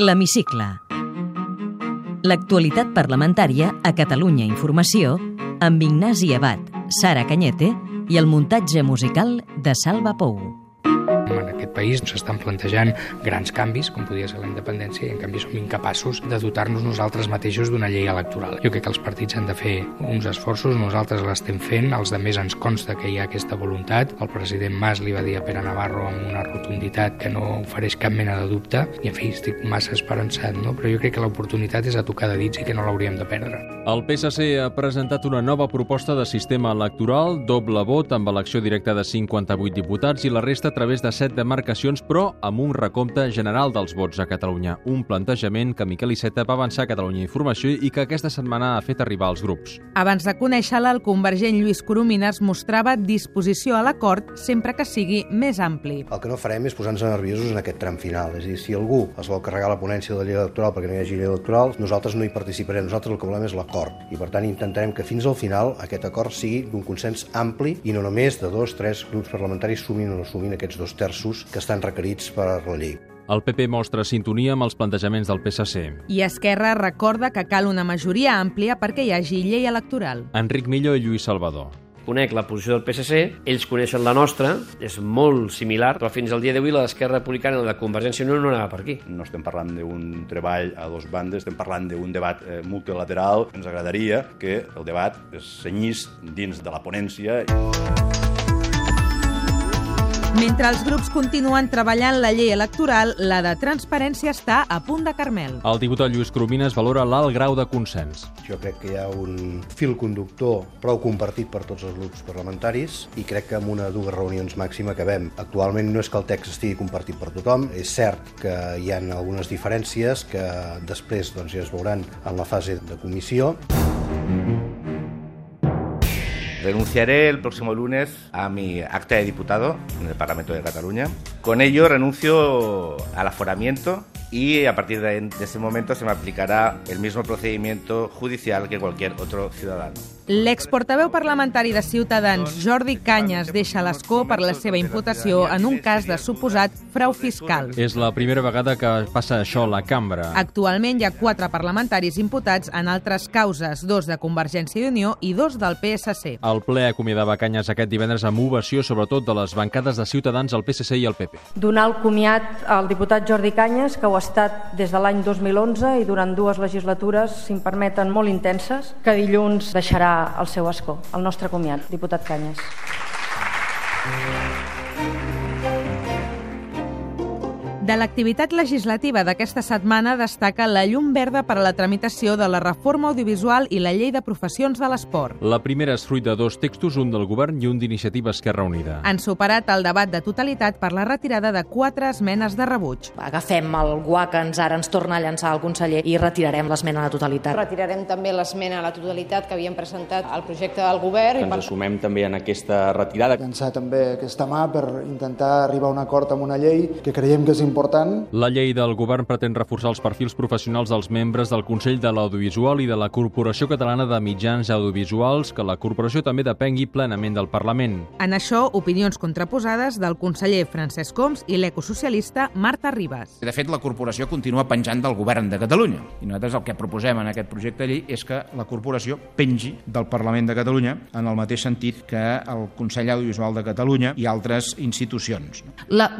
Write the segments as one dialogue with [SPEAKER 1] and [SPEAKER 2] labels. [SPEAKER 1] L'hemicicle. L'actualitat parlamentària a Catalunya Informació amb Ignasi Abad, Sara Canyete i el muntatge musical de Salva Pou.
[SPEAKER 2] En aquest país s'estan plantejant grans canvis, com podia ser la independència, i en canvi som incapaços de dotar-nos nosaltres mateixos d'una llei electoral. Jo crec que els partits han de fer uns esforços, nosaltres l'estem fent, els de més ens consta que hi ha aquesta voluntat. El president Mas li va dir a Pere Navarro amb una rotunditat que no ofereix cap mena de dubte, i en fi, estic massa esperançat, no? però jo crec que l'oportunitat és a tocar de dits i que no l'hauríem de perdre.
[SPEAKER 3] El PSC ha presentat una nova proposta de sistema electoral, doble vot amb elecció directa de 58 diputats i la resta a través de 7 demarcacions, però amb un recompte general dels vots a Catalunya. Un plantejament que Miquel Iceta va avançar a Catalunya Informació i que aquesta setmana ha fet arribar als grups.
[SPEAKER 4] Abans de conèixer-la, el convergent Lluís Coromines mostrava disposició a l'acord sempre que sigui més ampli.
[SPEAKER 5] El que no farem és posar-nos nerviosos en aquest tram final. És a dir, si algú es vol carregar la ponència de la llei electoral perquè no hi hagi llei electoral, nosaltres no hi participarem. Nosaltres el que volem és l'acord. I per tant intentarem que fins al final aquest acord sigui d'un consens ampli i no només de dos, tres grups parlamentaris sumin o no sumin aquests dos terços que estan requerits per la llei.
[SPEAKER 3] El PP mostra sintonia amb els plantejaments del PSC.
[SPEAKER 4] I Esquerra recorda que cal una majoria àmplia perquè hi hagi llei electoral.
[SPEAKER 3] Enric Millo i Lluís Salvador
[SPEAKER 6] conec la posició del PSC, ells coneixen la nostra, és molt similar, però fins al dia d'avui la d'Esquerra Republicana i la de Convergència Unió no anava per aquí.
[SPEAKER 7] No estem parlant d'un treball a dos bandes, estem parlant d'un debat eh, multilateral. Ens agradaria que el debat es senyís dins de la ponència.
[SPEAKER 4] Mentre els grups continuen treballant la llei electoral, la de transparència està a punt de Carmel.
[SPEAKER 3] El diputat Lluís Cromines valora l'alt grau de consens.
[SPEAKER 5] Jo crec que hi ha un fil conductor prou compartit per tots els grups parlamentaris i crec que amb una o dues reunions màxima acabem. Actualment no és que el text estigui compartit per tothom, és cert que hi ha algunes diferències que després doncs, ja es veuran en la fase de comissió.
[SPEAKER 8] Renunciaré el próximo lunes a mi acta de diputado en el Parlamento de Cataluña. Con ello renuncio al aforamiento y a partir de ese momento se me aplicará el mismo procedimiento judicial que cualquier otro ciudadano.
[SPEAKER 4] L'exportaveu parlamentari de Ciutadans, Jordi Canyes, deixa l'escó per la seva imputació en un cas de suposat frau fiscal.
[SPEAKER 3] És la primera vegada que passa això a la cambra.
[SPEAKER 4] Actualment hi ha quatre parlamentaris imputats en altres causes, dos de Convergència i Unió i dos del PSC.
[SPEAKER 3] El ple acomiadava Canyes aquest divendres amb ovació, sobretot de les bancades de Ciutadans, el PSC i el PP.
[SPEAKER 9] Donar el comiat al diputat Jordi Canyes, que ho ha estat des de l'any 2011 i durant dues legislatures, si em permeten, molt intenses, que dilluns deixarà el seu escó, el nostre comiat, diputat Canyes.
[SPEAKER 4] De l'activitat legislativa d'aquesta setmana destaca la llum verda per a la tramitació de la reforma audiovisual i la llei de professions de l'esport.
[SPEAKER 3] La primera és fruit de dos textos, un del govern i un d'iniciativa Esquerra Unida.
[SPEAKER 4] Han superat el debat de totalitat per la retirada de quatre esmenes de rebuig.
[SPEAKER 10] Agafem el guà que ens ara ens torna a llançar el conseller i retirarem l'esmena a la totalitat.
[SPEAKER 11] Retirarem també l'esmena a la totalitat que havien presentat al projecte del govern.
[SPEAKER 12] Ens assumem també en aquesta retirada.
[SPEAKER 13] Llançar també aquesta mà per intentar arribar a un acord amb una llei que creiem que és important important.
[SPEAKER 3] La llei del govern pretén reforçar els perfils professionals dels membres del Consell de l'Audiovisual i de la Corporació Catalana de Mitjans Audiovisuals, que la corporació també depengui plenament del Parlament.
[SPEAKER 4] En això, opinions contraposades del conseller Francesc Coms i l'ecosocialista Marta Ribas.
[SPEAKER 14] De fet, la corporació continua penjant del govern de Catalunya. I nosaltres el que proposem en aquest projecte de llei és que la corporació pengi del Parlament de Catalunya en el mateix sentit que el Consell Audiovisual de Catalunya i altres institucions.
[SPEAKER 10] La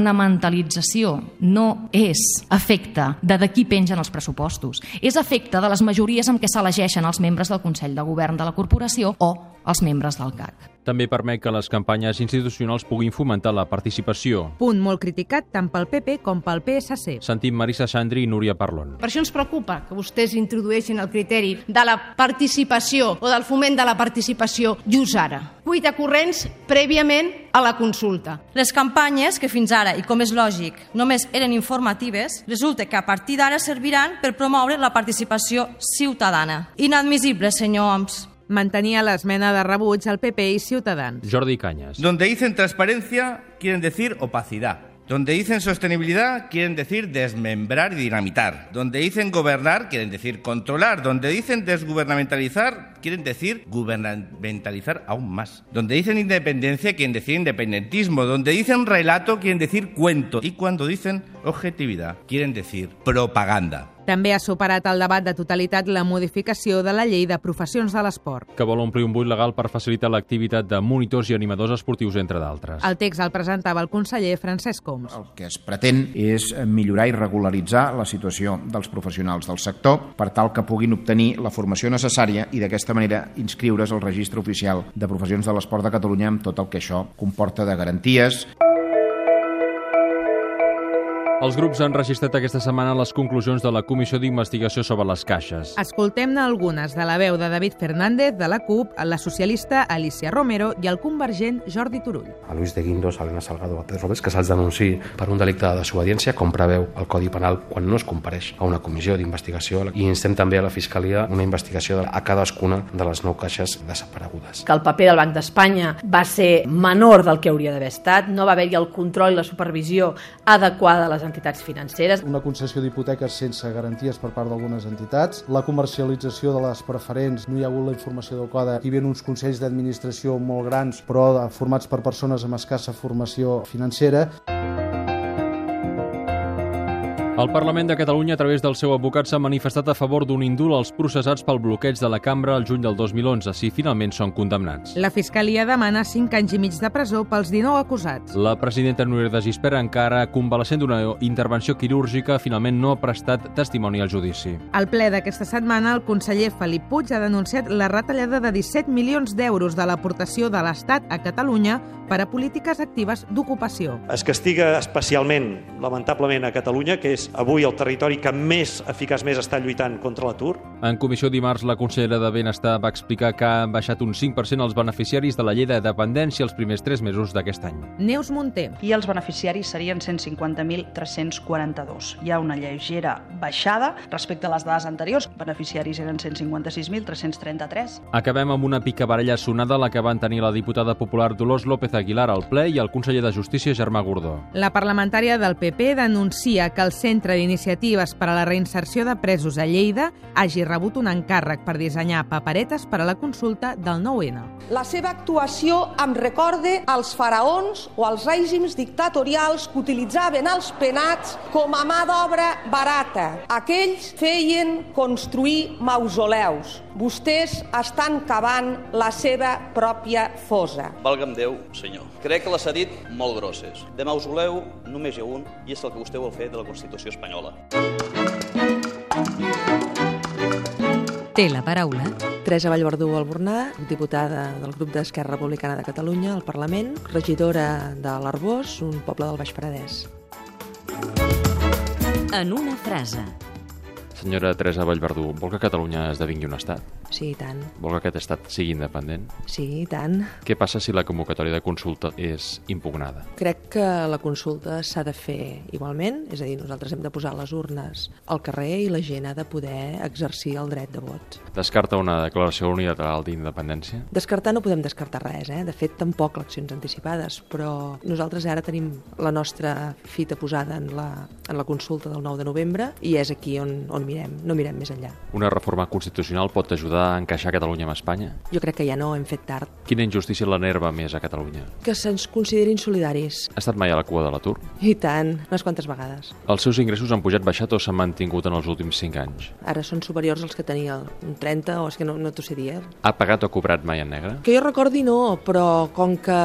[SPEAKER 10] governamentalització inflació no és efecte de de qui pengen els pressupostos, és efecte de les majories amb què s'elegeixen els membres del Consell de Govern de la Corporació o els membres del CAC.
[SPEAKER 3] També permet que les campanyes institucionals puguin fomentar la participació.
[SPEAKER 4] Punt molt criticat tant pel PP com pel PSC.
[SPEAKER 3] Sentim Marisa Xandri i Núria Parlon.
[SPEAKER 15] Per això ens preocupa que vostès introdueixin el criteri de la participació o del foment de la participació just ara. Cuita corrents prèviament a la consulta.
[SPEAKER 16] Les campanyes, que fins ara, i com és lògic, només eren informatives, resulta que a partir d'ara serviran per promoure la participació ciutadana. Inadmissible, senyor Oms.
[SPEAKER 4] mantenía la esmena de rebuig al PP y Ciutadans.
[SPEAKER 3] Jordi Cañas.
[SPEAKER 8] Donde dicen transparencia, quieren decir opacidad. Donde dicen sostenibilidad quieren decir desmembrar y dinamitar. Donde dicen gobernar quieren decir controlar. Donde dicen desgubernamentalizar quieren decir gubernamentalizar aún más. Donde dicen independencia quieren decir independentismo. Donde dicen relato quieren decir cuento. Y cuando dicen objetividad quieren decir propaganda.
[SPEAKER 4] També ha superat el debat de totalitat la modificació de la llei de professions de l'esport.
[SPEAKER 3] que vol omplir un buit legal per facilitar l'activitat de monitors i animadors esportius, entre d'altres.
[SPEAKER 4] El text el presentava el conseller Francesc Homs.
[SPEAKER 14] que es pretén és millorar i regularitzar la situació dels professionals del sector per tal que puguin obtenir la formació necessària i d'aquesta manera inscriure's al registre oficial de professions de l'esport de Catalunya amb tot el que això comporta de garanties.
[SPEAKER 3] Els grups han registrat aquesta setmana les conclusions de la Comissió d'Investigació sobre les Caixes.
[SPEAKER 4] Ah. Escoltem-ne algunes de la veu de David Fernández, de la CUP, la socialista Alicia Romero i el convergent Jordi Turull.
[SPEAKER 2] a Luis de Guindos, a Elena Salgado, a Pedro Robles, que se'ls denunciï per un delicte de desobediència com preveu el Codi Penal quan no es compareix a una comissió d'investigació i instem també a la Fiscalia una investigació de- a cadascuna de les nou caixes desaparegudes.
[SPEAKER 17] que el paper del Banc d'Espanya va ser menor del que hauria d'haver estat, no va haver-hi el control i la supervisió adequada a les entitats financeres.
[SPEAKER 5] Una concessió d'hipoteques sense garanties per part d'algunes entitats, la comercialització de les preferents, no hi ha hagut la informació adequada, hi havia uns consells d'administració molt grans, però de- formats per persones amb escassa formació financera.
[SPEAKER 3] El Parlament de Catalunya, a través del seu advocat, s'ha manifestat a favor d'un indult als processats pel bloqueig de la cambra el juny del 2011, si finalment són condemnats.
[SPEAKER 4] La Fiscalia demana 5 anys i mig de presó pels 19 acusats.
[SPEAKER 3] La presidenta Núria de Gispera, encara convalescent d'una intervenció quirúrgica, finalment no ha prestat testimoni al judici.
[SPEAKER 4] Al ple d'aquesta setmana, el conseller Felip Puig ha denunciat la retallada de 17 milions d'euros de l'aportació de l'Estat a Catalunya per a polítiques actives d'ocupació.
[SPEAKER 7] Es castiga especialment, lamentablement, a Catalunya, que és avui el territori que més eficaçment està lluitant contra l'atur.
[SPEAKER 3] En comissió dimarts, la consellera de Benestar va explicar que han baixat un 5% els beneficiaris de la llei de dependència els primers tres mesos d'aquest any.
[SPEAKER 4] Neus Monté.
[SPEAKER 18] I els beneficiaris serien 150.342. Hi ha una lleugera baixada respecte a les dades anteriors. Beneficiaris eren 156.333.
[SPEAKER 3] Acabem amb una picabaralla sonada la que van tenir la diputada popular Dolors López Aguilar al ple i el conseller de Justícia Germà Gordó.
[SPEAKER 4] La parlamentària del PP denuncia que el Centre d'Iniciatives per a la Reinserció de Presos a Lleida hagi rebut un encàrrec per dissenyar paperetes per a la consulta del 9-N.
[SPEAKER 19] La seva actuació em recorda als faraons o als règims dictatorials que utilitzaven els penats com a mà d'obra barata. Aquells feien construir mausoleus. Vostès estan cavant la seva pròpia fosa.
[SPEAKER 20] Valga'm Déu, senyor. Crec que les ha dit molt grosses. De mausoleu només hi ha un i és el que vostè vol fer de la Constitució espanyola.
[SPEAKER 1] Té la paraula
[SPEAKER 21] Teresa Vallverdú Albornà, diputada del grup d'Esquerra Republicana de Catalunya al Parlament, regidora de l'Arbós, un poble del Baix Paradès.
[SPEAKER 1] en una frase.
[SPEAKER 22] Senyora Teresa Vallverdú, vol que Catalunya esdevingui un estat?
[SPEAKER 21] Sí, i tant.
[SPEAKER 22] Vol que aquest estat sigui independent?
[SPEAKER 21] Sí, i tant.
[SPEAKER 22] Què passa si la convocatòria de consulta és impugnada?
[SPEAKER 21] Crec que la consulta s'ha de fer igualment, és a dir, nosaltres hem de posar les urnes al carrer i la gent ha de poder exercir el dret de vot.
[SPEAKER 22] Descarta una declaració unilateral d'independència?
[SPEAKER 21] Descartar no podem descartar res, eh? de fet tampoc eleccions anticipades, però nosaltres ara tenim la nostra fita posada en la, en la consulta del 9 de novembre i és aquí on, on mirem, no mirem més enllà.
[SPEAKER 22] Una reforma constitucional pot ajudar a encaixar Catalunya amb Espanya?
[SPEAKER 21] Jo crec que ja no, hem fet tard.
[SPEAKER 22] Quina injustícia l'enerva més a Catalunya?
[SPEAKER 21] Que se'ns considerin solidaris.
[SPEAKER 22] Ha estat mai a la cua de l'atur?
[SPEAKER 21] I tant, unes quantes vegades.
[SPEAKER 22] Els seus ingressos han pujat baixat o s'han mantingut en els últims 5 anys?
[SPEAKER 21] Ara són superiors als que tenia un 30, o és que no, no t'ho sé dir, eh?
[SPEAKER 22] Ha pagat o cobrat mai en negre?
[SPEAKER 21] Que jo recordi no, però com que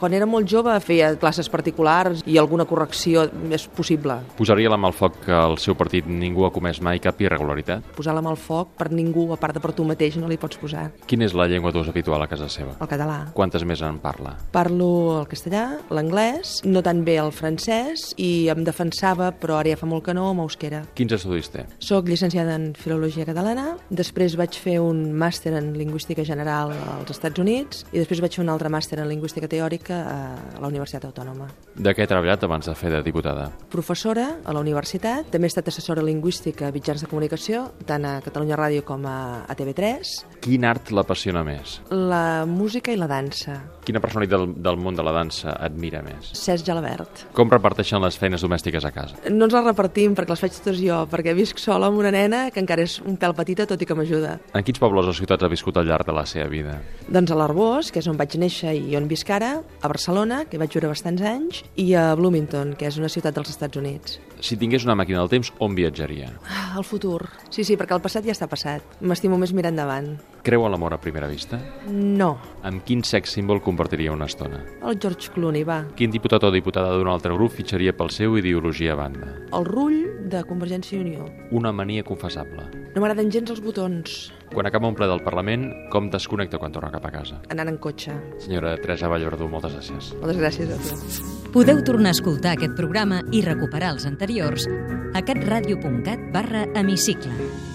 [SPEAKER 21] quan era molt jove feia classes particulars i alguna correcció és possible.
[SPEAKER 22] Posaria la mà al foc que al seu partit ningú ha comès mai cap irregularitat?
[SPEAKER 21] Posar la mà al foc per ningú, a part de per tu mateix, no li pots posar.
[SPEAKER 22] Quina és la llengua d'ús habitual a casa seva?
[SPEAKER 21] El català.
[SPEAKER 22] Quantes més en parla?
[SPEAKER 21] Parlo el castellà, l'anglès, no tan bé el francès i em defensava, però ara ja fa molt que no, amb euskera.
[SPEAKER 22] Quins estudis té?
[SPEAKER 21] Soc llicenciada en Filologia Catalana, després vaig fer un màster en Lingüística General als Estats Units i després vaig fer un altre màster en Lingüística Teòrica eh, a la Universitat Autònoma.
[SPEAKER 22] De què ha treballat abans de fer de diputada?
[SPEAKER 21] Professora a la universitat, també he estat assessora lingüística a mitjans de comunicació, tant a Catalunya Ràdio com a, a TV3,
[SPEAKER 8] 3,
[SPEAKER 3] Quin art l'apassiona més?
[SPEAKER 8] la música i la dansa.
[SPEAKER 3] Quina personalitat del, del món de la dansa admira més?
[SPEAKER 8] Cesc Gelabert.
[SPEAKER 3] Com reparteixen les feines domèstiques a casa?
[SPEAKER 8] No ens les repartim perquè les faig totes jo, perquè visc sola amb una nena que encara és un pèl petita, tot i que m'ajuda.
[SPEAKER 3] En quins pobles o ciutats ha viscut al llarg de la seva vida?
[SPEAKER 8] Doncs a l'Arbós, que és on vaig néixer i on visc ara, a Barcelona, que hi vaig viure bastants anys, i a Bloomington, que és una ciutat dels Estats Units.
[SPEAKER 3] Si tingués una màquina del temps, on viatjaria?
[SPEAKER 8] Ah, El futur. Sí, sí, perquè el passat ja està passat. M'estimo més mirar endavant.
[SPEAKER 3] Creu en l'amor a primera vista?
[SPEAKER 8] No,
[SPEAKER 3] Amb quin sex símbol compartiria una estona?
[SPEAKER 8] el George Clooney, va.
[SPEAKER 3] Quin diputat o diputada d'un altre grup fitxaria pel seu ideologia a banda?
[SPEAKER 8] El rull de Convergència i Unió.
[SPEAKER 3] Una mania confessable.
[SPEAKER 8] No m'agraden gens els botons.
[SPEAKER 3] Quan acaba un ple del Parlament, com desconnecta quan torna cap a casa?
[SPEAKER 8] Anant en cotxe.
[SPEAKER 3] Senyora Teresa Vallverdú, moltes gràcies.
[SPEAKER 8] Moltes gràcies a tu.
[SPEAKER 1] Podeu tornar a escoltar aquest programa i recuperar els anteriors a catradio.cat barra hemicicle.